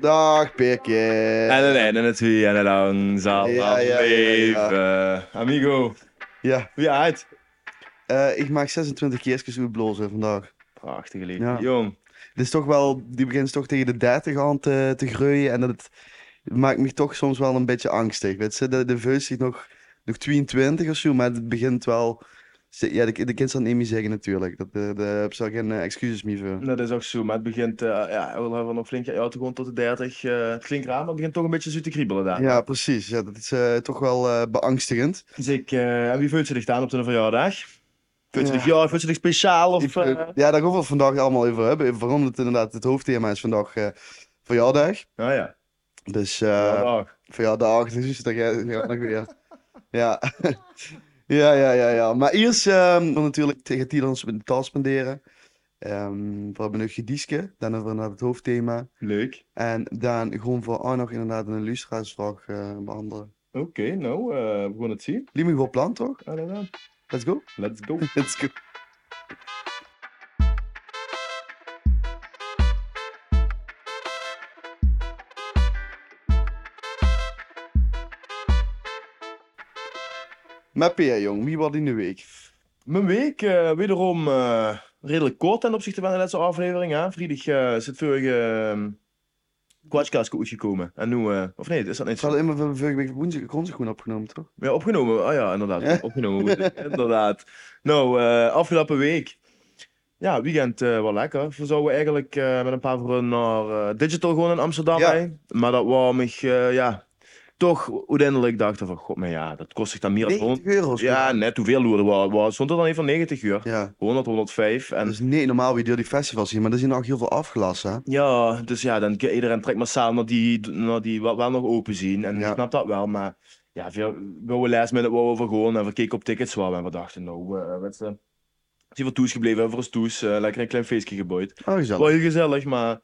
Dag Peekje. En een einde natuurlijk, en een lang zal Ja, ja, ja, ja. leven. Amigo, Ja, hoe je uit? eh, ik maak 26 keertjes oerblozen vandaag. Prachtige liefde. Ja. Jong, Het is toch wel, die begint toch tegen de 30 aan te, te groeien en dat het, het maakt me toch soms wel een beetje angstig. Weet je, de, de vuist zit nog, nog 22 of zo, maar het begint wel. ze- Ja, de, de kind zal het niet meer zeggen natuurlijk. Dat, eh, daar heb ze al geen eh, excuses meer voor. dat is ook zo, maar het begint, eh, ja, we hebben nog flink uit te gewoon tot de 30. eh, het klinkt raar, maar het begint toch een beetje zo te kriebelen daar. Ja, precies. Ja, dat is eh, toch wel eh, beangstigend. Dus ik, eh, en wie vult ze dicht aan op zijn verjaardag? Vult ze Ja. dicht, ja, vult ze dicht speciaal of... Ik, eh, eh, ja, daar gaan we het vandaag allemaal over hebben. Waarom het inderdaad het hoofdthema is vandaag eh verjaardag. Nou ja, Ah, Dus eh, verjaardag. verjaardag, dus is dat jij ja, nog weer. Ja. ja, ja, ja, ja. Maar eerst ehm we natuurlijk tegen Tielans met de taal spenderen. Ehm, we hebben een gediesje, dan hebben we inderdaad het hoofdthema. Leuk. En dan gewoon voor Arno inderdaad een luisteraarsvraag eh, behandelen. Oké, nou, eh, we gaan het zien. Liep me goed plan, toch? Ah, dan, dan. Let's go. Let's go. Let's go. Maar Peer, jong, wie was in de week? Mijn week, eh, wederom eh, redelijk kort ten opzichte van de laatste aflevering. Hè? Vrijdag eh, is het vorige ehm kwartskaas gekomen. En nu, eh, of nee, is dat niet Ik zo? had immer van vorige week woensdag grond gewoon opgenomen, toch? Ja, opgenomen. Ah ja, inderdaad. Ja. Opgenomen. moet ik. inderdaad. Nou, eh, afgelopen week. Ja, weekend eh wel lekker. We zouden eigenlijk eh, met een paar vrienden naar eh, Digital gewoon in Amsterdam Ja. heen. Maar dat wou me, eh, ja, toch uiteindelijk dachten van, god, maar ja, dat kost zich dan meer dan 100. euro's. Ja, net hoeveel loerde was, was. Stond er dan even 90 uur. ja. 100, 105. En Dat is niet normaal wie door die festivals hier, maar er is hier nog heel veel afgelast, hè? Ja, dus ja, dan ke- iedereen trekt massaal naar die, naar die wat wel nog open zien. En Ja. ik snap dat wel, maar ja, veel, we last minute wouden we gewoon en we keken op tickets wel en we dachten, nou, eh wat is er? Is hier voor Toes gebleven, voor ons Toes, eh, lekker een klein feestje gebouwd. Oh, gezellig. Wel heel gezellig, maar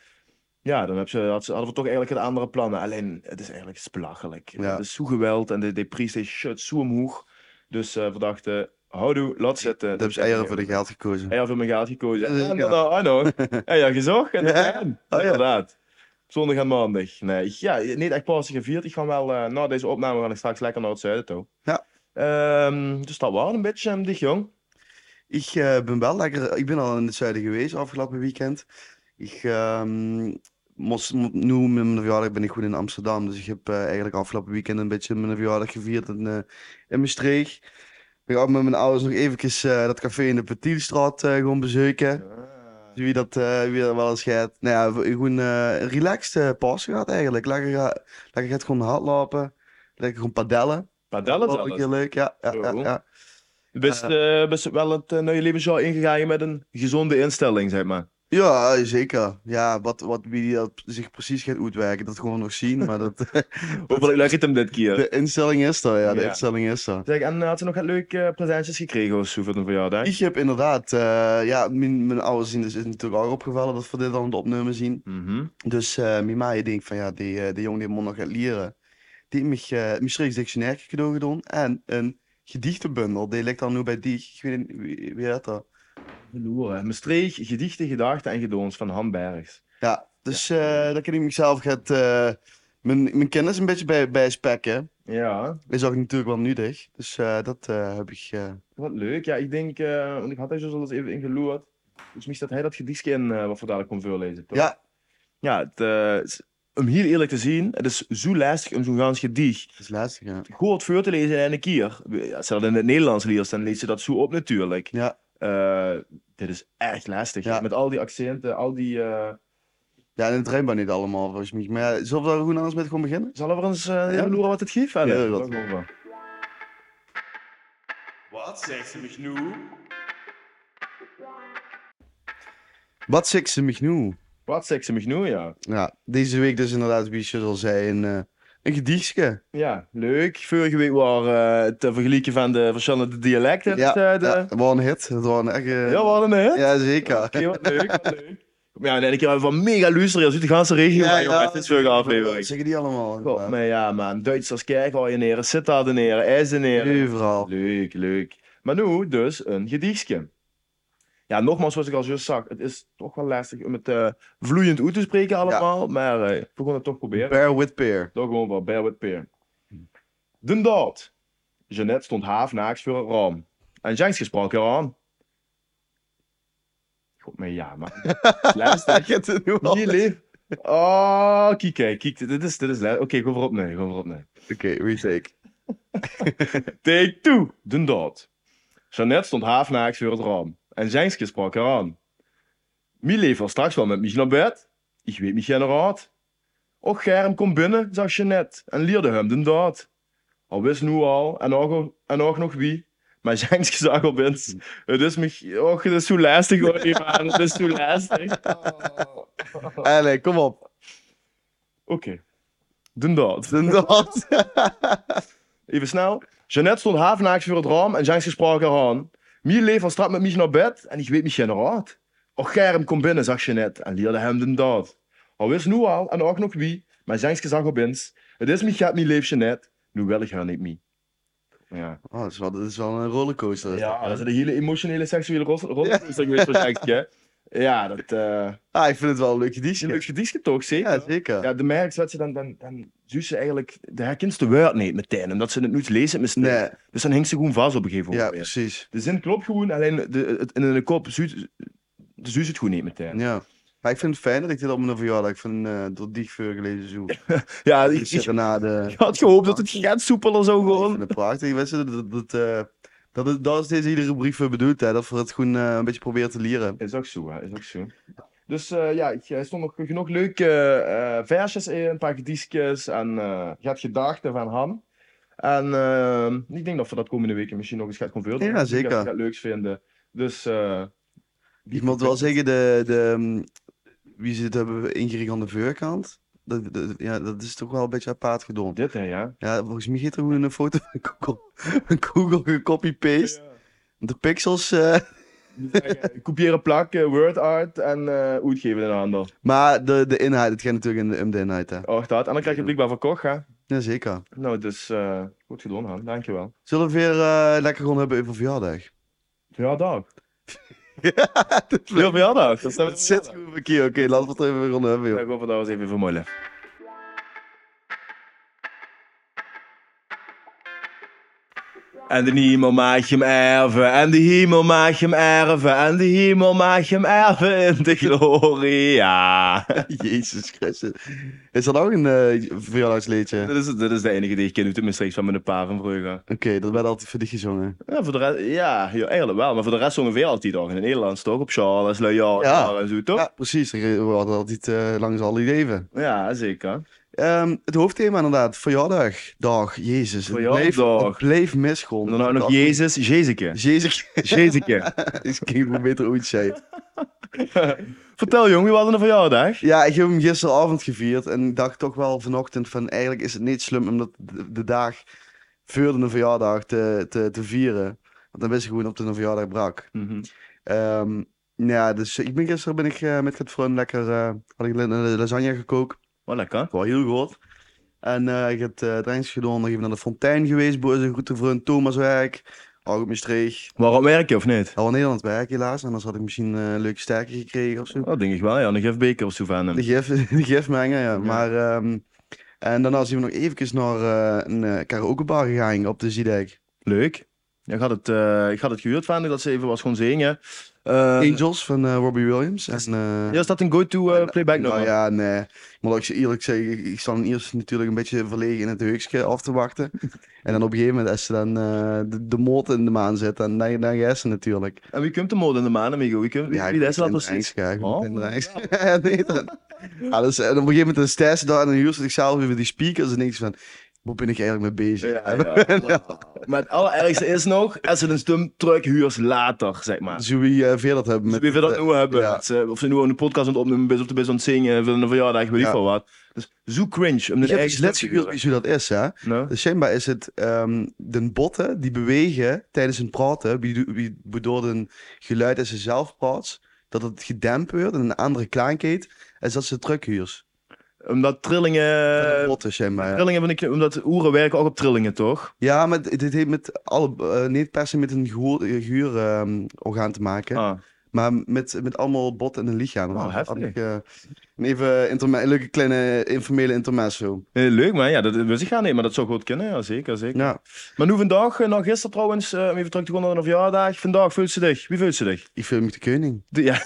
ja, dan heb ze, had ze, hadden we toch eigenlijk een andere plannen. Alleen, het is eigenlijk het is belachelijk. Ja. Het is zo geweld en de, de prijs is shut zo omhoog. Dus eh we dachten, houdoe, laat zitten. Dat hebben ze eieren voor de geld gekozen. Hij had voor mijn geld gekozen. Ja, En ja. dan, ah nou, en ja, gezocht. En Ja. en. Oh, ja. Inderdaad. Zondag en maandag. Nee, ik- ja, niet echt pas gevierd. Ik ga wel, eh, na deze opname ga ik straks lekker naar het zuiden toe. Ja. Ehm, dus dat waren een beetje um, dicht, jong. Ik eh, ben wel lekker. Ik ben al in het zuiden geweest afgelopen weekend. Ik ehm, moest mo- nu met mijn verjaardag ben ik goed in Amsterdam. Dus ik heb eh, eigenlijk afgelopen weekend een beetje mijn verjaardag gevierd in, eh in Maastricht. Ik heb met mijn ouders nog eventjes eh, dat café in de Petielstraat eh, gewoon bezoeken. Dus Wie dat, eh, wie dat wel eens gaat. Nou ja, we- gewoon eh, een relaxed eh, pas gehad eigenlijk. Lekker, ga- lekker gaat gewoon hardlopen. Lekker gewoon padellen. Padellen Ook heel zelfs. leuk, ja. ja, ja, Zo. ja. Je bent, eh, bent wel het eh, nieuwe levensjaar ingegaan met een gezonde instelling, zeg maar. Ja, zeker. Ja, wat, wat wie dat zich precies gaat uitwerken, dat gewoon nog zien. Maar dat, Hoeveel lukt het hem dit keer? de instelling is er, ja, de Ja. instelling is er. Zeg, en eh, had ze nog wat leuke presentjes gekregen of zo voor een verjaardag? Ik heb inderdaad, eh, ja, mijn, mijn ouders zien, dus is natuurlijk ook opgevallen dat we dit aan het opnemen zien. Mhm. Dus eh mijn maai denkt van ja, die, eh, die jongen die moet nog gaat leren. Die heeft mij eh, mijn Schreeks dictionair cadeau gedaan en een gedichtenbundel. Die ligt dan nu bij die, ik weet niet, wie, wie heet dat? Verloren. Maastricht, gedichten, gedachten en gedoons van Han Bergs. Ja, dus eh daar kan ik mezelf gaat, eh, mijn, mijn kennis een beetje bij, bij spekken. Ja, Is ook natuurlijk wel nuttig. Dus eh, dat eh, heb ik. eh, Wat leuk. Ja, ik denk, eh, want ik had daar zo al eens even in geloerd. Dus misschien dat hij dat gedichtje in eh, wat we dadelijk kon voorlezen. Toch? Ja, Ja, het, eh, is- om hier eerlijk te zien, het is zo lastig om zo'n gans gedicht dat is lastig. Ja. goed voor te lezen in een keer. Als je dat in het Nederlands leest, dan lees je dat zo op natuurlijk. Ja. Eh, dit is echt lastig. Ja. Met al die accenten, al die... eh, ja, en het rijmt maar niet allemaal volgens mij. Maar ja, zullen we daar gewoon anders met gewoon beginnen? Zullen we eens eh, even loeren wat het geeft? Ja, Ellen? dat is Wat zegt ze me nu? Wat zegt ze mij nu? Wat zegt ze me nu, ja. Ja, deze week dus inderdaad, wie je al zei, een, eh, een gedichtje. Ja, leuk. Vorige week waren het eh, vergelijken van de verschillende dialecten. Ja, eh, de... Ja, ja. het was een hit. Het was een echt. eh, we hadden een hit. ja, zeker. Oké, wat leuk, wat leuk. Ja, en ik heb van mega luisteren uit de ganse regio. Ja, ja, het is vorige Wat aflevering. zeggen die allemaal? God, maar ja, man. Duitsers kijken al je neer, Sittard neer, IJzen neer. Overal. Leuk, leuk. Maar nu dus een gedichtje. ja, nogmaals, zoals ik al juist zag, het is toch wel lastig om het eh, vloeiend uit te spreken allemaal. Maar eh, we gaan het toch proberen. Bear with peer. Toch gewoon wel, bear with peer. Den dat. Jeannette stond haafnaaks voor het raam. En Jenske sprak haar aan. God, maar ja, maar. Luister. Ik heb het nu al. Hier, lief. Oh, kijk, kijk, kijk. Dit is, dit is le- Oké, go voorop nee, go voorop nee. Oké, retake. Take two, den dat. Jeannette stond haafnaaks voor het raam. En Jenske sprak haar aan. Mie was straks wel met mij naar bed. Ik weet niet geen raad. Och, Germ kom binnen, zag Jeannette en leerde hem den daad. Al wist nu al, en ook, en ook nog wie. Maar Jenske zag op eens. Het is mich, och, het is zo lastig hoor, die man. Het is zo lastig. Allee, Ah, kom op. Oké. Doen dat. Doen dat. Even snel. Jeannette stond havenaaks voor het raam en Jenske sprak haar aan. Mie leef van straat met mij naar bed en ik weet niet geen raad. Och Germ kom binnen, zag Jeannette en leerde hem de daad. Al wist nu al en ook nog wie, maar Jenske zag op eens. Het is mij gaat mij leef Jeannette, nu wil ik haar niet mee. Ja, Oh, dat, is wel, dat is wel een rollercoaster. ja dat is een hele emotionele seksuele ros- rollercoaster geweest voor Jenske. hè. Ja, dat eh Ah, ik vind het wel een leuk is een gedichtje. leuk gedichtje toch, zeker? Ja, zeker. Ja, de merk dat ze dan, dan, dan zoet ze eigenlijk de herkenste woord niet meteen, omdat ze het niet lezen met nee. Nee, Dus dan hangt ze gewoon vast op een gegeven ja, moment. weer. precies. De zin klopt gewoon, alleen de, het, in de kop zuurt de zuurt het gewoon niet meteen. Ja. Maar ik vind het fijn dat ik dit op mijn verjaardag van eh door Diegveur gelezen zoek. Ja, Die ik, ik serenade. had gehoopt dat het gaat soepeler zou Ik vind gewoon. het prachtig. Weet je, dat, dat, eh, dat, is- dat is deze iedere brief voor bedoeld. Hè? Dat we het gewoon eh, een beetje proberen te leren. Is ook zo, hè, is ook zo. Dus eh, ja, ik- er stonden nog genoeg leuke eh, eh, versjes in, een paar gedichtjes en eh je hebt gedachten van Ham. En eh, ik denk dat we dat komende weken misschien nog eens gaan converteren. Ja, Ik denk dat zeker. we dat leuks vinden. Dus eh, Ik moet wel zeggen, de, de, ehm, wie zit hebben we ingericht aan de voorkant? Dat, dat- ja, dat is toch wel een beetje apart gedaan. dit hè, ja. Ja, volgens mij gaat er gewoon een foto van Google, van Google gecopy-paste. De pixels. eh, Dus, eh, Kopiëren plak, eh, word art en eh uitgeven in de handel. maar de, de inhoud, het gaat natuurlijk in de, om de inhoud. Hè? Och, dat. Oh, En dan krijg je blijkbaar van Koch, hè? Jazeker. Nou, dus eh, goed gedaan, Han. Dankjewel. Zullen we weer eh, lekker gewoon hebben over verjaardag? Verjaardag. Heel verjaardag. Dat Het zit goed verkeer. Oké, laten we het even gewoon hebben, joh. Ik hoop dat was even vermoeilijk. En de hemel maakt je hem erven, en de hemel maakt je hem erven, en de hemel maakt je hem erven in de gloria. Jezus Christus. Is dat ook een eh, verjaardagsliedje? Oké, dit, is, dit is de enige die ik ken uit de streeks van mijn pa van vroeger. dat werd altijd voor die gezongen. Ja, voor de rest, ja, ja, eigenlijk wel. Maar voor de rest zongen we altijd al in het Nederlands, toch? Op Charles, Loyal Ja. en zo, toch? Ja, precies. We hadden altijd eh, langs al die leven. Ja, zeker. Ehm, het hoofdthema inderdaad, verjaardag. Dag, Jezus. Het bleef- Verjaardag. Het bleef misgrond. En dan ook Nou, nog Dag- Jezus, Jezeke. Jezus. Jezeke. Is geen hoe beter ooit zei. Vertel jong, wie was er een verjaardag? Ja, ik heb hem gisteravond gevierd en ik dacht toch wel vanochtend van eigenlijk is het niet slim om dat de, de dag voor de verjaardag te, te, te vieren. Want dan wist ik gewoon op de verjaardag brak. Mhm. Ehm, nou ja, dus ik ben gisteren ben ik, eh, met het vriend lekker eh, had ik la- la- lasagne gekookt. Wat lekker. Wel heel goed. En eh, ik heb het drankjes gedaan. Dan ben ik naar de fontein geweest. Boos een goede vriend Thomas werk. Ook op Maastricht. Waarom werk je of niet? Al in Nederland werk helaas. Anders had ik misschien eh, een leuke sterke gekregen of zo. Dat denk ik wel, ja. Een Jeff Beker of zo van De hem. gif, de gifmengen, ja. Maar, ehm, en daarna zijn we nog eventjes naar eh, een eh, karaokebar gegaan op de Ziedijk. Leuk. Ja, ik, had het, eh, ik had het gehuurd van haar dat ze even was gewoon zingen. Eh Angels van eh, Robbie Williams. En, eh, ja, is dat een go-to eh, playback nou nummer? ja, nee. Ik moet ook eerlijk zeggen, ik- ik sta eerst natuurlijk een beetje verlegen in het heukje af te wachten. en dan op een gegeven moment, als ze dan eh, de, de moot in de maan zit, dan, dan, dan ga je ze natuurlijk. En wie komt de mode in de maan, amigo? Wie, komt, wie, wie ik is dat moet in precies? de Rijks kijken, Oh. ik moet in de Rijks. Nee, dan- Ja, dus, en op een gegeven moment dan stijg ze daar en dan huurt ze zichzelf over die speakers en denkt ze van, waar ben ik eigenlijk mee bezig? Ja, ja. Maar het allerergste is nog, als ze een stumtruck huurt later, zeg maar. Zullen we eh, veel dat hebben Dus met... wie wil dat nu hebben? ja. Dat ze- of ze nu een podcast aan het opnemen is, of de best aan het zingen, willen eh, een verjaardag, weet ik Ja. veel wat. Dus zo cringe om Ik de heb eigen dus net stuk gehuurd huren. wie zo dat is, hè. Nou? Dus schijnbaar is het ehm, de botten die bewegen tijdens een praten, wie do- wie- waardoor een geluid als ze zelf praat, dat het gedempt wordt en een andere klankheid, is dat ze truckhuurs. Nou? Omdat trillingen... Van de botten, schijnbaar. ja. Trillingen, vind ik, omdat oeren werken ook op trillingen, toch? Ja, maar dit dit heeft met alle, eh, niet per se met een gehoor- eh, gehuurorgaan ehm, te maken, Ah, Maar met, met allemaal bot en een liedje aan. Wow, Had heftig. ik, eh, een even interme- een leuke kleine informele intermezzo. Eh, leuk, maar ja, dat wil zich gaan nemen, maar dat zou goed kunnen, ja, zeker, zeker. Ja, Maar nu vandaag, eh, nou gisteren trouwens, eh, om even terug te komen naar de verjaardag. Vandaag, voelt ze dich? Wie voelt ze dich? ik film de koning. De, ja.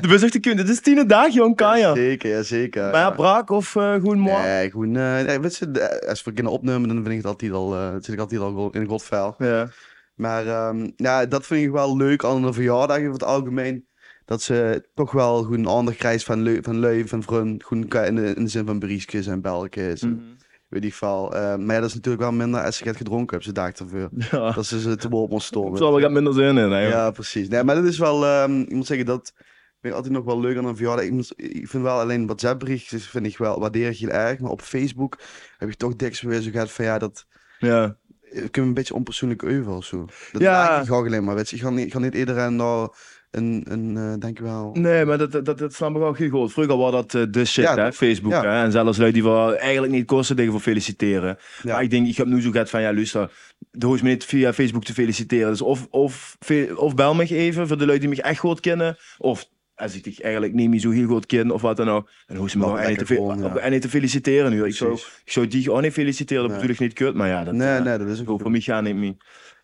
de bezig kunnen, dit is tiende dag, jong, kan je. Zeker, ja, zeker. Ah, Maar ja, braak of eh gewoon mooi. Nee, gewoon, eh, nee, weet je, de- als we kinderen opnemen, dan vind ik het altijd al, eh, zit ik altijd al go- in een goed vuil. Ja. Maar ehm, ja, dat vind ik wel leuk aan een verjaardag over het algemeen. Dat ze toch wel goed een aandacht krijgt van, leu van lui, van vriend, goed ka- in de, in de zin van briesjes en belletjes. en Weet ik veel. Eh, maar ja, dat is natuurlijk wel minder als je het gedronken hebt, ze daagt ervoor. Ja, Dat ze ze te boven ons ik stomen. zal wel wat minder zin in, hè. nou, joh. Ja, precies. Nee, maar dat is wel, ehm, ik moet zeggen, dat vind ik altijd nog wel leuk aan een verjaardag. Ik, moet- ik vind wel alleen WhatsApp-berichtjes, vind ik wel, waardeer ik heel erg. Maar op Facebook heb ik toch dikst weer zo gehad van, ja, dat ja. ik heb een beetje onpersoonlijk euvel of zo. Dat Ja. ja. ik ook alleen maar, weet je. Ik ga niet, ik ga niet iedereen nou een, een eh, denk je wel... Nee, maar dat, dat, dat snap ik ook heel goed. Vroeger was dat eh, de shit, Ja, hè, dat- Facebook. ja. Hè? En zelfs lui die wel eigenlijk niet kosten tegen voor feliciteren. Ja. Maar ik denk, ik heb nu zo gehad van, ja, luister, de hoeft me niet via Facebook te feliciteren. Dus of, of, fe- of bel me even voor de lui die me echt goed kennen. Of als ik dich eigenlijk niet meer zo heel goed ken of wat dan ook. Dan hoeft ze me Laat gewoon me en niet te, lekker fe- gewoon, ja. op- en niet te feliciteren nu. Ik zou, Precies. ik zou die ook niet feliciteren, dat Nee. bedoel ik niet kut. Maar ja, dat, Nee, eh, nee, dat is ook voor, voor zo. mij gaat niet meer.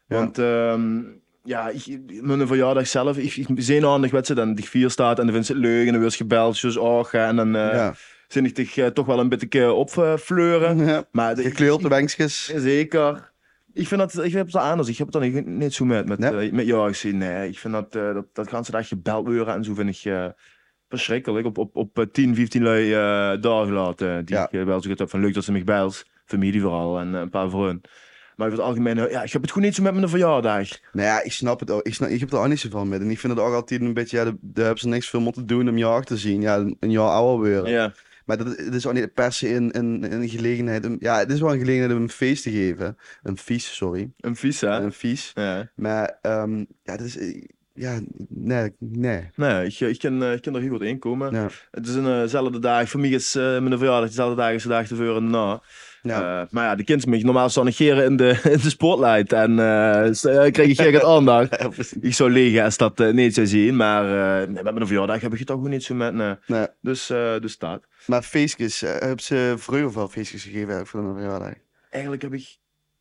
Ja. Want ehm, ja, ik, mijn verjaardag zelf, ik, ik zenuwachtig werd ze dan, die vier staat en dan vindt ze het leuk en dan wordt ze gebeld, dus och, hè, en dan eh Ja. Mhm. zin ik dich eh, toch wel een beetje opfleuren. Ja. maar eh, de- Gekleurde ik- bankjes. ik- zeker. Ik vind dat, ik heb het anders. Ik heb het dan niet, niet zo met, met, Nee? eh, met jou gezien. Nee, ik vind dat, eh dat, dat gaan ze daar gebeld worden en zo vind ik eh, verschrikkelijk. Op, op, op eh, 10, 15 lui eh dagen laten. Die Ja. ik eh, wel zo goed heb van leuk dat ze me belt. Familie vooral en eh, een paar vrienden. Maar over het algemeen, eh, ja, ik heb het gewoon niet zo met mijn verjaardag. Nou ja, ik snap het ook. Ik, snap, ik heb er ook niet zoveel met. En ik vind het ook altijd een beetje, ja, daar daar hebben ze niks veel moeten doen om jou te zien. Ja, een jaar ouder weer. Ja. Maar dat, het is ook niet per se een, een, een gelegenheid. om- ja, het is wel een gelegenheid om een feest te geven. Een feest, sorry. Een visa. Een feest. Ja. Maar ehm, ja, dat is. eh, Ja, nee, nee. Nee, ik, ik, kan, eh, ik kan er heel goed in komen. Ja. Het is eenzelfde dag. Voor mij is eh, mijn verjaardag dezelfde dag als de dag ervoor en na. Ja. Eh, maar ja, de kind me normaal zou negeren in de, in de spotlight. En eh s- eh, kreeg ik geen aandacht. Ja, precies. Ik zou liggen als dat eh, niet zou zien. Maar eh, nee, met mijn verjaardag heb ik het ook gewoon niet zo met. nee. Nee. Dus, eh, dus dat. Maar feestjes, eh, heb ze vroeger wel feestjes gegeven eigenlijk voor mijn verjaardag? Eigenlijk heb ik...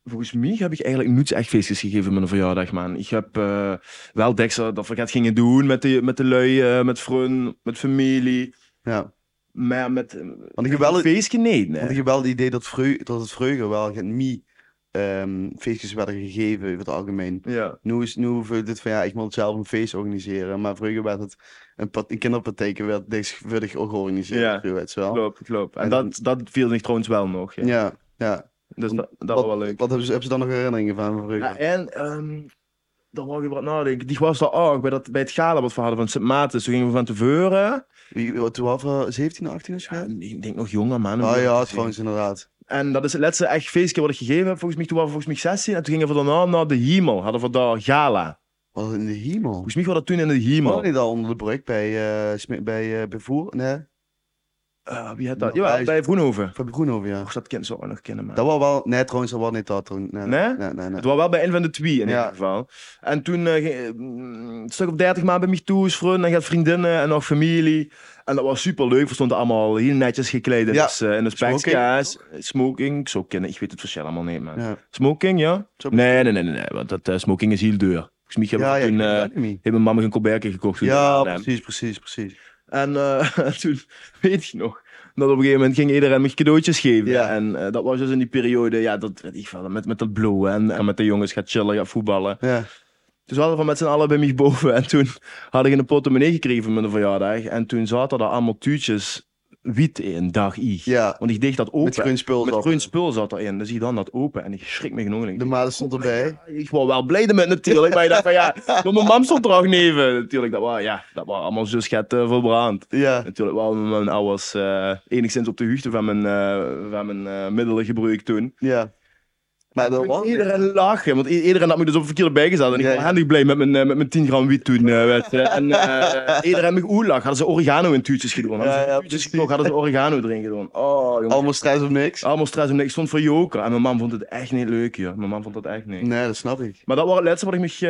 Volgens mij heb ik eigenlijk niets echt feestjes gegeven met mijn verjaardag, man. Ik heb eh, wel dekser dat we het gingen doen met de, met de lui, eh, met vrienden, met familie. Ja. Maar ja, met... eh, Want ik heb wel, Een feestje? Nee, nee. want ik heb wel het idee dat, vreu, dat het vroeger wel geen mie ehm, feestjes werden gegeven over het algemeen. Ja. Nu, is, nu voelt het van ja, ik moet zelf een feest organiseren. Maar vroeger werd het een, pat- een kinderpartijtje werd dichtwillig georganiseerd. Ja. zo, weet je wel. Klopt, klopt. En, Oh. En dat, dat viel ik trouwens wel nog. Ja. Ja, ja. Dus dat, dat Wat- was wel leuk. Wat hebben ze, hebben ze dan nog herinneringen van van vroeger? Ja, en ehm daar wou ik wat nadenken. Die was daar ook bij, dat, bij het gala wat we hadden van Sint Maarten. Toen gingen we van tevoren. Wie- wat, Toen was 17, 18 is Ja, geweest? ik denk nog jonger, man. Oh ja, gewoon. trouwens, inderdaad. En dat is het laatste echt feestje wat ik gegeven heb. Volgens mij, toen waren we volgens mij 16. En toen gingen we daarna naar de Hemel. Hadden we daar gala. Wat in de hemel? Volgens mij was dat toen in de Hemel. Woon niet al onder de brug bij, eh Sme- bij eh Bevoer? Nee, Eh, wie had dat? Nou, Ja, hij- bij Vroenhoven. van Groenhoven, ja. Och, dat kind zou ik nog kennen, man. Dat was wel... Nee, trouwens, dat was niet dat toen. Nee? Nee? Nee, nee, nee. Het was wel bij een van de twee in Ja. ieder geval. En toen, eh, ging- mm, een stuk op 30 maanden bij mij toe, is vrienden, en gaat vriendinnen en nog familie. En dat was super leuk. We stonden allemaal heel netjes gekleed in, Ja. dus, eh, in de Smoking, specskaas. Smoking, ik zou kennen, ik weet het verschil allemaal niet, man. Ja. Smoking, ja? Zo- Nee, nee, nee, nee, nee, want dat eh, smoking is heel duur. Volgens mij hebben Ja, we ja, ik toen, weet eh, het niet. heeft mijn mama een colbertje gekocht. toen ja, in Arnhem. precies, precies, precies. En eh, toen weet ik nog. Dat op een gegeven moment ging iedereen me cadeautjes geven. Ja. En eh, dat was dus in die periode, ja, dat weet ik veel, met, met dat blauwe en, en met de jongens gaat chillen, gaat voetballen. Ja. Dus we hadden van met z'n allen bij mij boven. En toen had ik een portemonnee gekregen voor mijn verjaardag. En toen zaten er allemaal tuutjes wiet in, dag I. Ja, Want ik deed dat open. met groen spul. Met zat. groen spul zat erin. Dus ik dan dat open. En ik schrik me genoeg. En ik De maat stond erbij. ik was wel blij met natuurlijk, maar ik dacht van ja, maar mijn mam stond er ook neven. Natuurlijk, dat was, ja, dat was allemaal zo schet eh, verbrand. Ja, Natuurlijk wel met mijn ouders eh, enigszins op de hoogte van mijn, eh, van mijn eh, middelen gebruikt toen. ja. Maar dat was En Iedereen lachen, want i- iedereen had me dus op het verkeerde bij gezet. En ik Ja, was ja. handig blij met mijn, eh, met mijn 10 gram wiet toen. eh, weet je. en eh, iedereen had me oelag. Hadden ze oregano in tuutjes gedaan. Hadden Ja, ze ja, tuutjes precies. gekookt, hadden ze oregano erin gedaan. Oh, jongen. allemaal stress om niks. Allemaal stress. omdat Ik stond voor joker. En mijn man vond het echt niet leuk, joh. Mijn man vond dat echt niet. Nee, dat snap ik. Maar dat was het laatste wat ik me eh,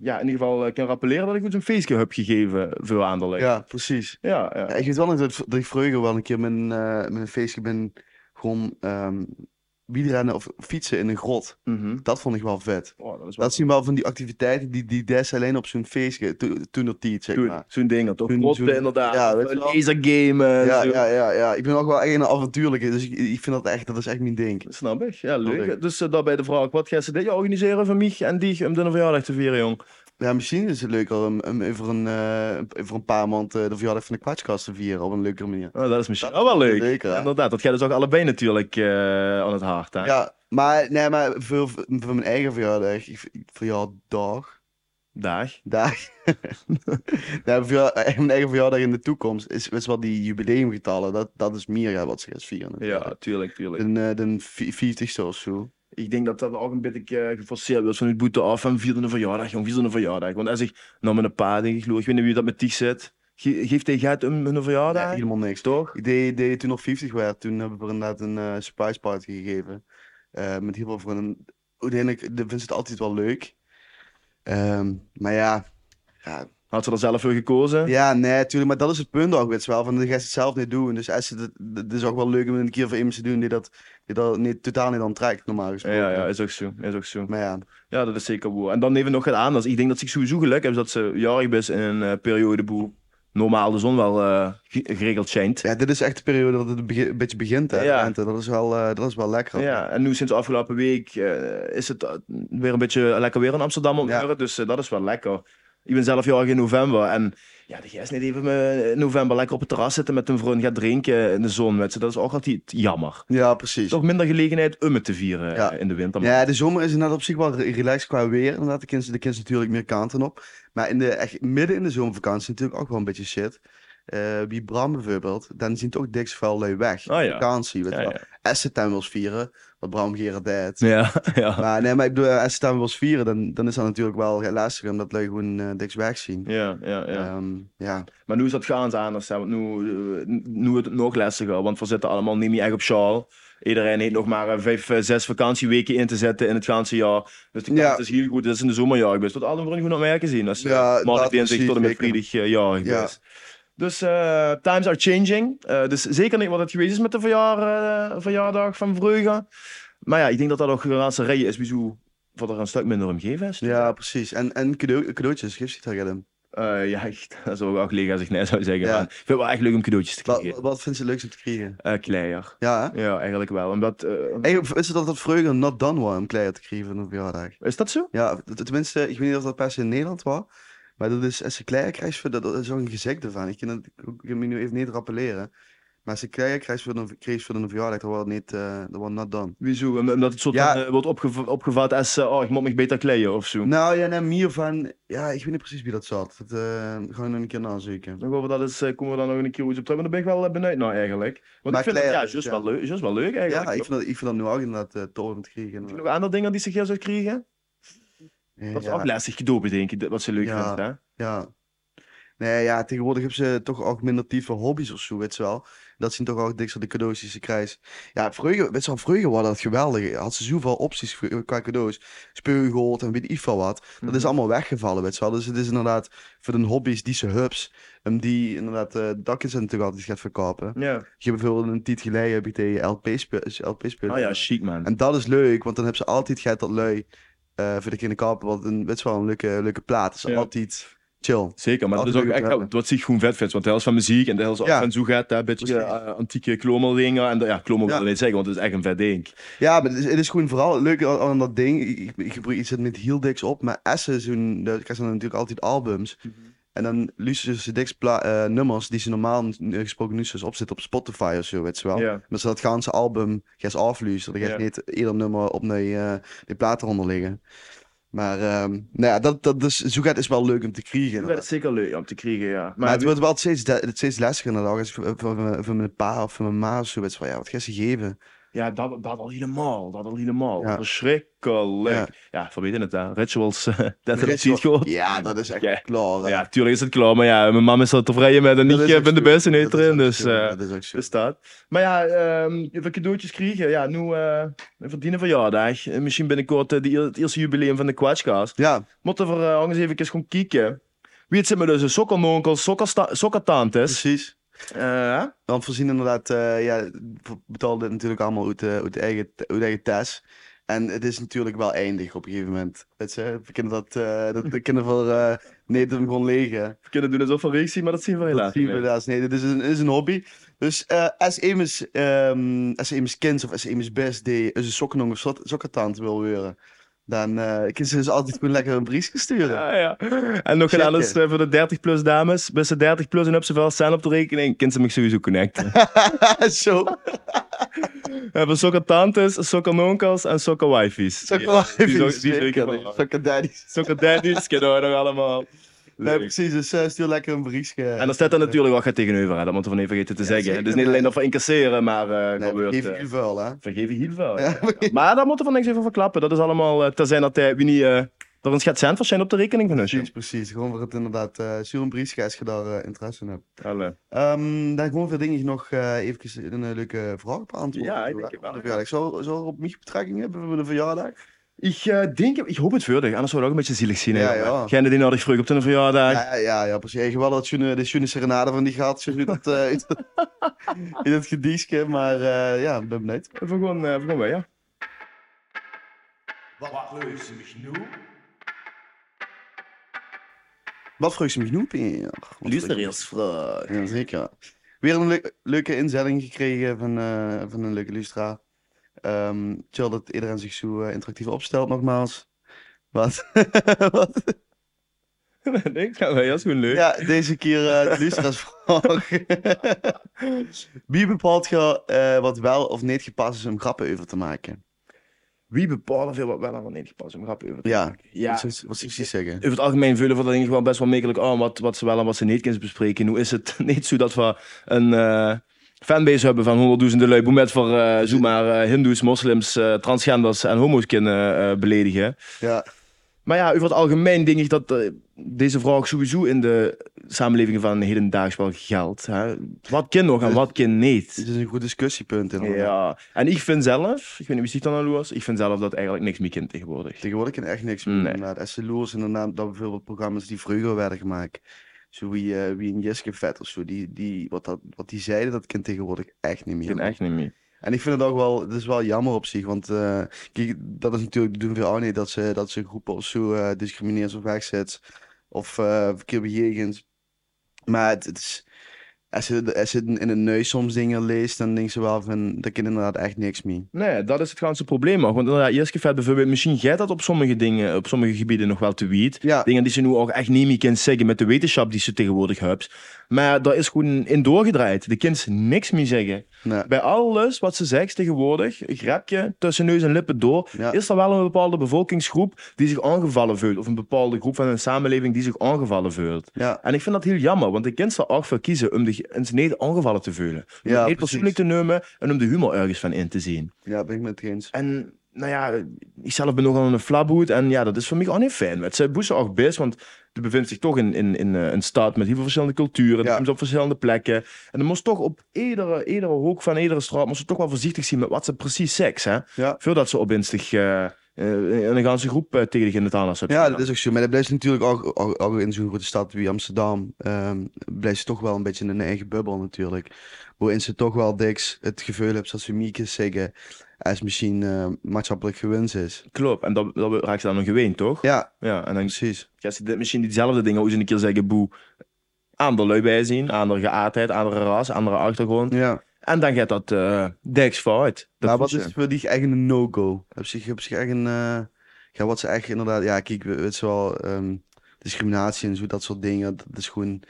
ja, in ieder geval eh, kan rappelleren. Dat ik dus een feestje heb gegeven voor Anderlecht. Ja, precies. Ja, ja. Ja, ik weet wel nog dat, dat ik vroeger wel een keer met een, eh, met een feestje ben gewoon ehm wielrennen of fietsen in een grot. Mhm. Dat vond ik wel vet. Oh, dat is wel Dat zien wel van die activiteiten die, die Des alleen op zo'n feestje, to- toen dat die het zeg Toen- maar. Zo'n ding, toch? Toen- Rotten, zo'n- inderdaad. ja, Of, weet eh, je wel. lasergamen. en Ja, zo. ja, ja, ja. Ik ben ook wel echt een avontuurlijke, dus ik, ik vind dat echt, dat is echt mijn ding. Snap ik. Ja, leuk. Snap ik. Dus eh, daarbij de vraag, wat gaan ze dit jaar organiseren voor mij en die om de verjaardag te vieren, jong? Ja, misschien is het leuk om, om even, een, eh, even een paar maanden de verjaardag van de kwartskast te vieren op een leukere manier. Oh, dat is misschien Dat ook wel is leuk. zeker, ja. Inderdaad, dat gaat dus ook allebei natuurlijk eh, aan het hart. Hè? Ja, maar, nee, maar voor, voor mijn eigen verjaardag, ik- ik- verjaardag, Dag. Daar. Daar verja- mijn eigen verjaardag in de toekomst is, is wel die jubileumgetallen. Dat, dat is meer ja, wat ze gaat vieren. Ja, tuurlijk, tuurlijk. Een, eh, een vi- 40ste of zo. Ik denk dat dat ook een beetje eh, geforceerd wordt vanuit boete af en vierde een verjaardag, jong, vierde een verjaardag. Want als ik nou met een paar denk ik, Loer, ik weet niet wie dat met die zit. Ge- Geeft hij gaat hem een Nee, verjaardag? helemaal niks. toch? Ik deed, deed toen nog 50 werd. Toen hebben we er inderdaad een eh, surprise party gegeven. Eh, met heel veel vrienden. Uiteindelijk de- vinden ze het altijd wel leuk. Ehm, maar ja. Ja, Had ze dat zelf voor gekozen? ja, nee, tuurlijk. Maar dat is het punt ook, weet je wel. Van, dan ga je het zelf niet doen. Dus als ze dat- dat is ook wel leuk om een keer voor iemand te doen die dat, die dat niet, totaal niet aantrekt, normaal gesproken. ja, ja, is ook zo. Is ook zo. Maar ja, Ja, dat is zeker waar. En dan even nog het aan. dat Ik denk dat ze sowieso geluk hebben dat ze jarig is in een eh, periode boe normaal de zon wel eh, ge- geregeld schijnt. Ja, dit is echt de periode dat het begi- een beetje begint, hè? Ja. Lente. Dat is wel, eh, dat is wel lekker. Ja, en nu sinds de afgelopen week eh, is het eh, weer een beetje lekker weer in Amsterdam op Ja. uren, Dus eh, dat is wel lekker. Ik ben zelf jarig in november. En ja, de gast niet even eh, in november lekker op het terras zitten met een vriend gaat drinken in de zon. Met ze. Dat is ook altijd jammer. Ja, precies. Toch minder gelegenheid om het te vieren Ja. eh, in de winter. Ja, de zomer is inderdaad op zich wel re- relaxed qua weer. Inderdaad, de kinderen de kinderen natuurlijk meer kanten op. Maar in de, echt, midden in de zomervakantie natuurlijk ook wel een beetje shit. Eh, wie Bram bijvoorbeeld, dan zien toch diks vuil lui weg. Ah, ja. Vakantie, weet je Ja, wel. Als ze tuin wil vieren, wat Bram Gerard deed. Ja, ja. Maar nee, maar ik bedoel, als ze tuin wil vieren, dan, dan is dat natuurlijk wel lastiger omdat lui gewoon eh diks weg zien. Ja, ja, ja. Ehm, ja. Maar nu is dat gaans anders, hè, want nu, eh, nu wordt het nog lastiger, want we zitten allemaal niet meer echt op sjaal. Iedereen heeft nog maar eh, vijf, eh, zes vakantieweken in te zetten in het ganse jaar. Dus de kans Ja. is heel goed dat is in de zomerjaar geweest. Wat allemaal gewoon op merken zien. Als eh, Ja, ja, maandag, dat dinsdag tot en met precies, zeker. vrijdag eh, jarig Ja. is. Dus eh, times are changing. Eh, dus zeker niet wat het geweest is met de verjaar, eh, verjaardag van Vreugde. Maar ja, ik denk dat dat ook een raadse rij is. Wieso wat er een stuk minder om gegeven is. ja, precies. En, en cadeau, cadeautjes, geef ze het aan hem. Eh, ja echt, dat zou ik ook liggen als ik nee zou zeggen. Ja. maar Ik vind het wel echt leuk om cadeautjes te Wat, krijgen. wat vindt ze het leukst om te krijgen? Eh, kleier. Ja, hè? Ja, eigenlijk wel. Omdat, eh, Eigenlijk is het altijd vreugde not done was om kleier te krijgen van een verjaardag. is dat zo? Ja, t- tenminste, ik weet niet of dat per se in Nederland was. Maar dat is, als ze kleier krijgt, voor- dat dat is ook een gezegde van. Ik kan, het, ik kan me nu even niet rappelleren. Maar als ze kleier krijgt voor een, krijgt voor een verjaardag, dan wordt het niet, eh dat wordt not done. Wieso? Om- Omdat het soort Ja. van, eh, wordt opgeva- opgevat als, eh, oh, ik moet me beter kleden of zo. Nou ja, nee, meer van, ja, ik weet niet precies wie dat zat. Dat eh, gaan we nog een keer nazoeken. Dan gaan we dat eens, eh, komen we daar nog een keer iets op terug, maar daar ben ik wel eh, benieuwd naar eigenlijk. Want Maar ik vind het, ja, kleier, juist ja. wel leuk, juist wel leuk eigenlijk. Ja, ik vind dat, ik vind dat nu ook inderdaad eh tof om te krijgen. Heb je nog andere dingen die ze hier zou krijgen? Dat is ook ja, lastig gedopen, denk ik, dat- wat ze leuk Ja. vindt, hè? ja. Nee, ja, tegenwoordig hebben ze toch ook minder tiefe hobby's of zo, weet je wel. Dat zien toch ook diks de cadeaus die ze krijgt. Ja, vroeger, weet je wel, vroeger was dat geweldig. Had ze zoveel opties voor- eh, qua cadeaus. Speelgoed en weet ik veel wat. Dat is Mhm. allemaal weggevallen, weet je wel. Dus het is inderdaad voor de hobby's die ze hubs, ehm, die inderdaad eh dakjes en natuurlijk altijd gaat verkopen. Ja. Je hebt bijvoorbeeld een tijd geleden heb ik tegen LP-spullen. Oh ja, chic man. En dat is leuk, want dan hebben ze altijd geit dat lui eh, voor de kinderkapen. Want een, best wel een leuke, leuke plaat. Het is Ja. altijd chill. Zeker, maar dat is Altijd leuk ook om te echt hebben. wat zich gewoon vet vindt. Want de helft van muziek en de helft Ja. van zo gaat, hè, een beetje Precies. eh, antieke klomeldingen. En de- ja, klomel wil Ja. ik niet zeggen, want het is echt een vet ding. Ja, maar het is, het is gewoon vooral het leuke aan, aan dat ding. Ik, ik, ik gebruik iets met heel diks op, maar Essen zo'n, daar krijgen ze dan natuurlijk altijd albums. Mhm. En dan luisteren ze diks pla- eh, nummers die ze normaal n- gesproken nu zoals opzetten op Spotify of zo, weet je wel. Ja. Maar ze Dus dat ganse album gaan ze afluisteren. Dan gaat Ja. niet ieder nummer op die, eh die plaat eronder liggen. Maar ehm, nou ja, dat, dat dus, zo gaat is wel leuk om te krijgen. Dat is zeker leuk om te krijgen, ja. Maar, het wordt wel steeds, de- het steeds lastiger inderdaad. Als ik voor, voor, voor- voor mijn pa of voor mijn ma of zo weet je wel, ja, wat ga je ze geven? Ja, dat, dat al helemaal. Dat al helemaal. Ja. Verschrikkelijk. Ja. Ja. verbeter het, hè. Rituals, eh, dat Ritual- heb je gehoord. Ja, dat is echt Ja. klaar. hè. Ja, tuurlijk is het klaar, maar ja, mijn mam is er tevreden met en Dat ik is eh, ook ben de zo. beste in het Dat is erin, ook dus zo. eh, dat is ook zo. dus dat. Maar ja, ehm even cadeautjes krijgen. Ja, nu eh verdienen verjaardag. En misschien binnenkort eh, die, eer- het eerste jubileum van de Quatschcast. Ja, Moeten we eh, eens even gaan kijken. Wie het zit met onze sokkernonkels, sokkersta- sokkertantes. precies. Eh, Want voorzien inderdaad, eh, ja, we betalen dit natuurlijk allemaal uit, eh, uit, eigen, uit eigen tas. En het is natuurlijk wel eindig op een gegeven moment. Weet je, we kunnen dat, eh dat we kunnen voor eh Nederland gewoon liggen. we kunnen doen alsof we reeks zien, maar dat zien we Dat helaas zien niet. we daar. Nee, dit is een, is een hobby. Dus eh als Emus, ehm als Emus kind of als Emus best day, als een sokkenong of zot- sokkertant wil worden, dan eh kunnen ze dus altijd gewoon lekker een briefje sturen. Ja, ja. En nog Checken. gedaan is eh, voor de 30 plus dames. Beste 30 plus en op zoveel staan op de rekening. Kind ze me sowieso connecten. Zo, We hebben sokkertantes, sokkernonkels en sokkerwifies. sokkerwijfjes. die- die- weet ik die- al, Sokkerdaddies. Sokkerdaddies kennen we nog allemaal. Nee, precies. Dus eh, stuur lekker een briefje. En er staat dan natuurlijk wat gaat tegenover, hè. dat moeten we niet vergeten te zeggen. zeker. Het is niet alleen dat we incasseren, maar eh Nee, gebeurt. geef eh, je vuil, hè? vergeef je heel veel. Ja, Maar daar moeten we niks even verklappen. Dat is allemaal eh tenzij dat hij, wie niet, eh er een schat cent voor zijn op de rekening van ons. Precies, precies. Gewoon voor het inderdaad. eh stuur een briefje als je daar eh, interesse in hebt. Allee. Ehm, dan gewoon veel dingen nog eh even een eh, leuke vraag beantwoorden. Ja, ik denk het wel. Verjaardag. Zou, zou er op mij betrekking hebben voor de verjaardag? Ik eh, denk, ik hoop het vurig, anders zou het ook een beetje zielig zien. hè, Ja, jongen. ja. Geen die nodig vroeg op de verjaardag. Ja, ja, ja, precies. Ik wel dat June, de June Serenade van die gaat. Zo uit dat, eh, uit dat, in het gedichtje. Maar eh, ja, ik ben benieuwd. Even gewoon, eh, even gewoon weg, ja. Wat vroeg ze me genoeg? Peer? Wat vroeg ze- vraag. Ja, zeker. Weer een leuk- leuke inzending gekregen van, eh, van een leuke Lustra. Ehm chill dat iedereen zich zo eh, interactief opstelt, nogmaals. Wat? Wat? Niks, ja, dat is gewoon leuk. Ja, deze keer eh, de Lustra's vraag. Wie bepaalt je eh, wat wel of niet gepast is om grappen over te maken? Wie bepaalt veel wat wel en wat niet gepast om grappen over te Ja. maken? Ja. Wat zou- Wat zou ik precies zeggen? Over het algemeen vullen we dat denk ik wel best wel makkelijk aan wat, wat ze wel en wat ze niet kunnen bespreken. Nu is het niet zo dat we een eh, fanbase hebben van honderdduizenden lui boemet voor eh zoek maar eh, hindoes, moslims, eh, transgenders en homo's kunnen eh, beledigen. Ja, Maar ja, over het algemeen denk ik dat eh, deze vraag sowieso in de samenleving van hedendaags wel geldt. Hè? Wat kind nog en wat kind niet? dit is een goed discussiepunt. inderdaad. Ja, en ik vind zelf, ik weet niet wie zich dan aan was, ik vind zelf dat eigenlijk niks meer kind tegenwoordig. Tegenwoordig kan echt niks meer. Nee. inderdaad. Als ze loers inderdaad dat bijvoorbeeld programma's die vroeger werden gemaakt. Zo wie, eh, wie een Jiske Vet of zo. Die, die, wat, dat, wat die zeiden, dat kan tegenwoordig echt niet meer. Kind echt niet meer. En ik vind het ook wel, het is wel jammer op zich. Want eh, kijk, dat is natuurlijk doen veel ook niet. Dat ze, dat ze groepen of zo eh discrimineert of wegzet. Of eh verkeerd bejegend. Maar het, het is... Als je, als je in een neus soms dingen leest, dan denk ze wel van, daar kan inderdaad echt niks mee. Nee, dat is het ganse probleem ook. Want inderdaad, Jiske Vet bijvoorbeeld, misschien jij dat op sommige dingen, op sommige gebieden nog wel te weet. Ja, Dingen die ze nu ook echt niet meer kunnen zeggen met de wetenschap die ze tegenwoordig hebben. Maar daar is gewoon in doorgedraaid. De kinderen niks meer zeggen. nee, Bij alles wat ze zegt tegenwoordig, een grapje tussen neus en lippen door, ja. is er wel een bepaalde bevolkingsgroep die zich aangevallen voelt. Of een bepaalde groep van een samenleving die zich aangevallen voelt. ja. En ik vind dat heel jammer, want de kinderen ook voor kiezen om de in zijn eigen aangevallen te voelen. Om Ja, het niet precies. persoonlijk te nemen en om de humor ergens van in te zien. Ja, ben ik met het eens. En nou ja, ik zelf ben nogal een flaphoed en ja, dat is voor mij ook niet fijn. Het zijn boezen ook best, want je bevindt zich toch in, in, in eh, een stad met heel veel verschillende culturen, Ja. je komt op verschillende plekken. En dan moest toch op iedere, iedere hoek van iedere straat, moest je toch wel voorzichtig zien met wat ze precies seks, hè. Ja. Voordat ze opwinstig eh eh, een ganse groep eh, tegen de in het aan hebben. Ja, dat is ook zo. Maar dat blijft natuurlijk ook, ook, ook in zo'n grote stad wie Amsterdam. ehm, blijft ze toch wel een beetje in een eigen bubbel natuurlijk. Waarin ze toch wel diks het gevoel hebben dat ze miekjes zeggen. Als misschien eh, maatschappelijk gewinst is. Klopt, en dat, dat raakt ze dan nog gewend, toch? Ja, Ja, en dan precies. Ja, ze dit misschien diezelfde dingen hoe ze een keer zeggen, boe, ander lui bijzien, andere geaardheid, andere ras, andere achtergrond. Ja. En dan gaat dat eh deks vooruit. Dat eh, Maar wat voelt is ze. voor die echt een no-go? Heb zich, heb zich echt een... eh, ja, wat ze echt inderdaad... Ja, kijk, we- weet je wel... ehm, discriminatie en zo, dat soort dingen. Dat is gewoon...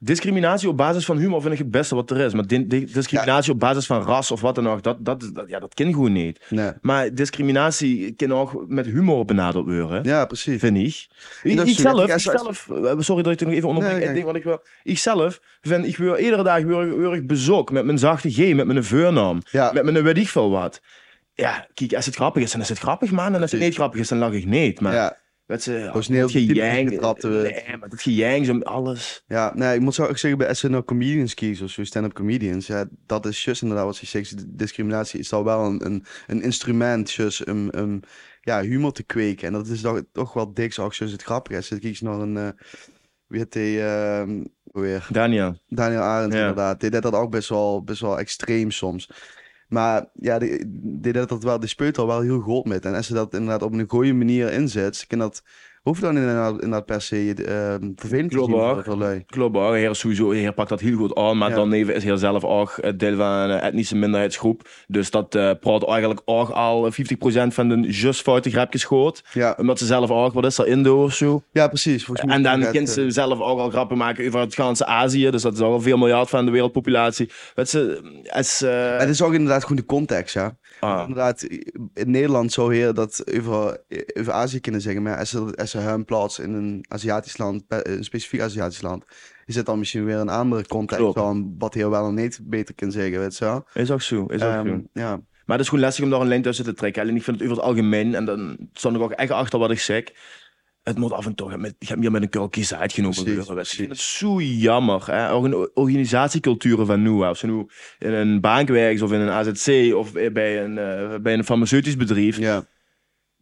Discriminatie op basis van humor vind ik het beste wat er is. Maar di- di- discriminatie op basis van ras of wat dan ook, dat, dat, is- dat, ja, dat kan gewoon niet. Nee. Maar discriminatie kan ook met humor benaderd worden. Ja, precies. Vind ik. En Ik, dat is ik zelf, natuurlijk- ik zelf, eh, sorry dat ik het nog even onderbreek. Nee, kijk. ik denk wat ik wel. Ik zelf vind, ik wil iedere dag weer, weer ik bezok met mijn zachte G, met mijn voornaam, Ja, met mijn weet ik veel wat. Ja, kijk, als het grappig is, dan is het grappig, man. En als het Precies. niet grappig is, dan lach ik niet. Maar ja, Weet ze, ja, was niet dat heel diep gejeng, ingetrapt, eh. nee, maar dat gejeng, zo met alles. ja. Nee, ik moet zo ook zeggen, bij SNL comedians kiezen of zo, stand-up comedians, ja, dat is just inderdaad wat je zegt. d- Discriminatie is dan wel een, een, een instrument, just om om, ja, humor te kweken. En dat is toch, toch wel dik, ook just het grappige is. Dan kijk eens naar een, eh, wie heet die, ehm, weer? Daniel. Daniel Arendt Ja. inderdaad. Die deed dat ook best wel, best wel extreem soms. Maar ja, die, die deed dat wel, die speelt al wel heel goed met. En als ze dat inderdaad op een goede manier inzet, kan dat, hoeft dan inderdaad, inderdaad per se ehm vervelend te Klopt, zien voor hoor. heel veel lui. Klopt, hoor. Heer Suzo, heer pakt dat heel goed aan, maar Ja. dan even is heer zelf ook eh, deel van een eh, etnische minderheidsgroep. Dus dat eh, praat eigenlijk ook al 50% van de just foute grapjes schoot. Ja, ehm, Omdat ze zelf ook, wat is dat, Indo of zo? ja precies. Volgens mij En dan gaat, kunnen eh, ze zelf ook al grappen maken over het ganse Azië. Dus dat is ook al 4 miljard van de wereldpopulatie. Weet ze, als, eh, Het is ook inderdaad gewoon de context, ja. ah, Inderdaad, in Nederland zou heel dat over, over Azië kunnen zeggen. Maar als ze, als ze hun plaats in een Aziatisch land, pe- eh, een specifiek Aziatisch land, is het dan misschien weer een andere context Klopt. van wat heel wel en niet beter kan zeggen, weet je wel. is ook zo, is ook Ehm, zo. ja. Maar het is gewoon lastig om daar een lijn tussen te trekken. Alleen ik vind het over het algemeen, en dan stond ik ook echt achter wat ik zeg. Het moet af en toe met, je hebt meer met een curl kies uitgenomen Precies, worden. weet je. Ik vind het precies. zo jammer. Hè? Ook in de organisatieculturen van nu. hè. Of ze nu in een bank werkt, of in een AZC, of bij een, eh, bij een farmaceutisch bedrijf. ja,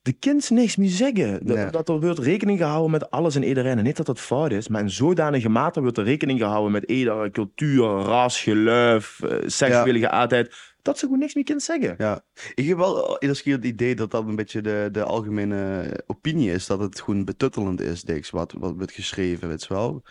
De kind niks meer zeggen. Dat, Nee. dat er wordt rekening gehouden met alles en iedereen. En niet dat dat fout is, maar in zodanige mate wordt er rekening gehouden met iedere cultuur, ras, geloof, eh, seksuele geaardheid. Dat ze gewoon niks meer kunnen zeggen. ja. Ik heb wel iedere keer het idee dat dat een beetje de, de algemene opinie is. Dat het gewoon betuttelend is, Dix, wat, wat wordt geschreven, weet je wel.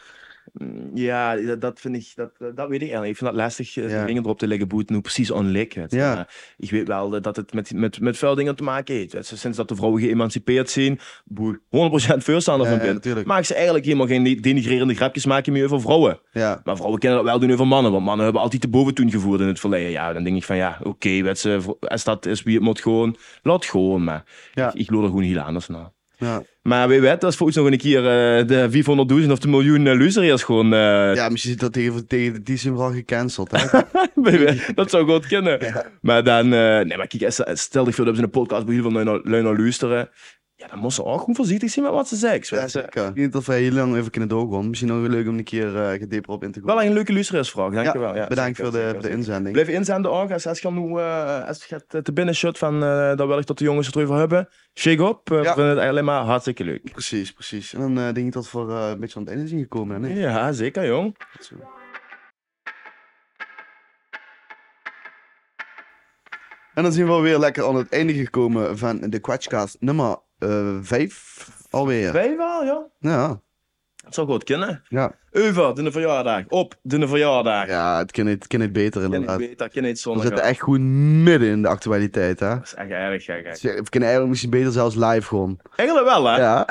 Mm, Ja, dat, dat vind ik, dat, dat weet ik eigenlijk. niet. Ik vind dat lastig, eh, de Ja. dingen erop te leggen, boet, nu precies on likken. Ja. Ik weet wel eh, dat het met, met, met vuil dingen te maken heeft. Dus Sinds dat de vrouwen geëmancipeerd zijn, boer, 100% voorstander Ja, van ja, dit. natuurlijk. Maak ze eigenlijk helemaal geen de- denigrerende grapjes maken meer over vrouwen. Ja, Maar vrouwen kunnen dat wel doen over mannen, want mannen hebben altijd de boven toen gevoerd in het verleden. Ja, dan denk ik van ja, oké, weet ze, vro- als dat is wie het moet gewoon, laat gewoon. Maar Ja. ik, ik loop er gewoon heel anders naar. ja. Maar weet je wat, dat is volgens nog een keer eh, de 400.000 of de miljoen uh, luisteraars gewoon eh, ja misschien is dat tegen, tegen die zin wel gecanceld. Hè? Nee, nee, dat zou goed kunnen. Maar dan, eh, nee, maar kijk, als- als- stel ik veel dat ze een podcast bij heel veel lui naar- lui naar luisteren. Ja, dan moet ze ook gewoon voorzichtig zijn met wat ze zegt. Ja, weet je. zeker. Ik weet niet of wij heel lang even kunnen doorgaan. Misschien nog leuk om een keer eh gedieper op in te Wel gaan. een leuke luisteraarsvraag, dankjewel. Ja, Bedankt voor zeker, de, zeker, voor de zeker. inzending. Blijf inzenden ook, als, als je nu eh, als je het eh, te binnen shut van eh dat wil ik dat de jongens het erover hebben. Shake up, eh, we Ja. vinden het alleen maar hartstikke leuk. Precies, precies. En dan eh, denk ik dat we eh, een beetje aan het einde zijn gekomen. Hè? Nee. Ja, zeker jong. Goed zo. En dan zijn we weer lekker aan het einde gekomen van de Quatchcast nummer 5 alweer. Wij wel, ja. Ja, Het zou goed kunnen. ja. Over, de verjaardag. Op, de verjaardag. ja het kan niet, het kan niet beter Ken ik inderdaad. beter, ken niet We zonder. zitten Dat echt gewoon midden in de actualiteit. Hè? is echt erg gek. hè. We kunnen eigenlijk misschien beter zelfs live gewoon. Eigenlijk wel, hè? Ja.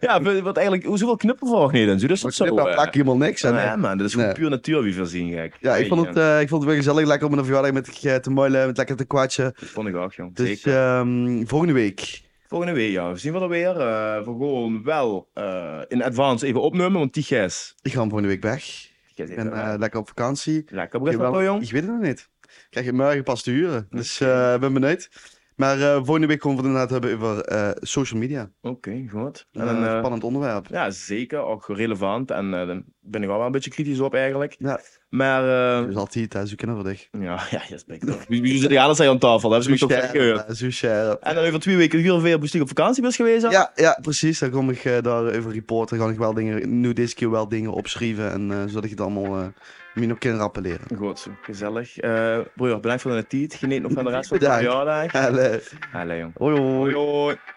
Ja, we- wat eigenlijk, hoeveel knippelvlag niet en zo, dus dat Maar zo. knippen eh, plak helemaal niks. aan, hè. ja, man, dat is gewoon Nee. puur natuur wie voorzien, gek. Ja, ik vond, het, Jeetje, eh, ik vond het weer gezellig. Lekker om een verjaardag met je te muilen, met lekker te kwatschen. dat vond ik ook, jong. Dus Zeker. ehm, volgende week. Volgende week, ja. We zien we er weer. eh, we gewoon wel eh, in advance even opnemen, want die gijs... Ik ga hem volgende week weg. Die gijs Ik heeft ben wel, eh, eh, lekker op vakantie. lekker Ik, begin wel, jong. ik weet het nog niet. Ik krijg het morgen pas te huren. Dus eh, ik ben benieuwd. Maar eh, volgende week gaan we het inderdaad hebben over eh, social media. Oké, goed. En Een dan, eh, spannend onderwerp. ja, zeker. Ook relevant. En eh, daar ben ik al wel een beetje kritisch op, eigenlijk. Ja. Maar... eh, Dus altijd, hè, zo kennen we dich. ja, ja, yes, ben ik toch. Wie wie zit er alles aan tafel? Dat hebben ze Zo me toch scherp, gehoord. hè, zo scherp. En dan over twee weken hier weer moest ik op vakantie was geweest. hè? Ja, ja, precies. Dan kom ik eh, daar even reporten. Ga ik wel dingen, nu deze keer wel dingen opschrijven. En, eh, zodat ik het allemaal eh min op kan rappelleren. Goed zo, gezellig. Eh broer, bedankt voor de tijd. Geniet nog van de rest van de Bedankt. verjaardag. Allee. Allee, jong. Hoi hoi. hoi.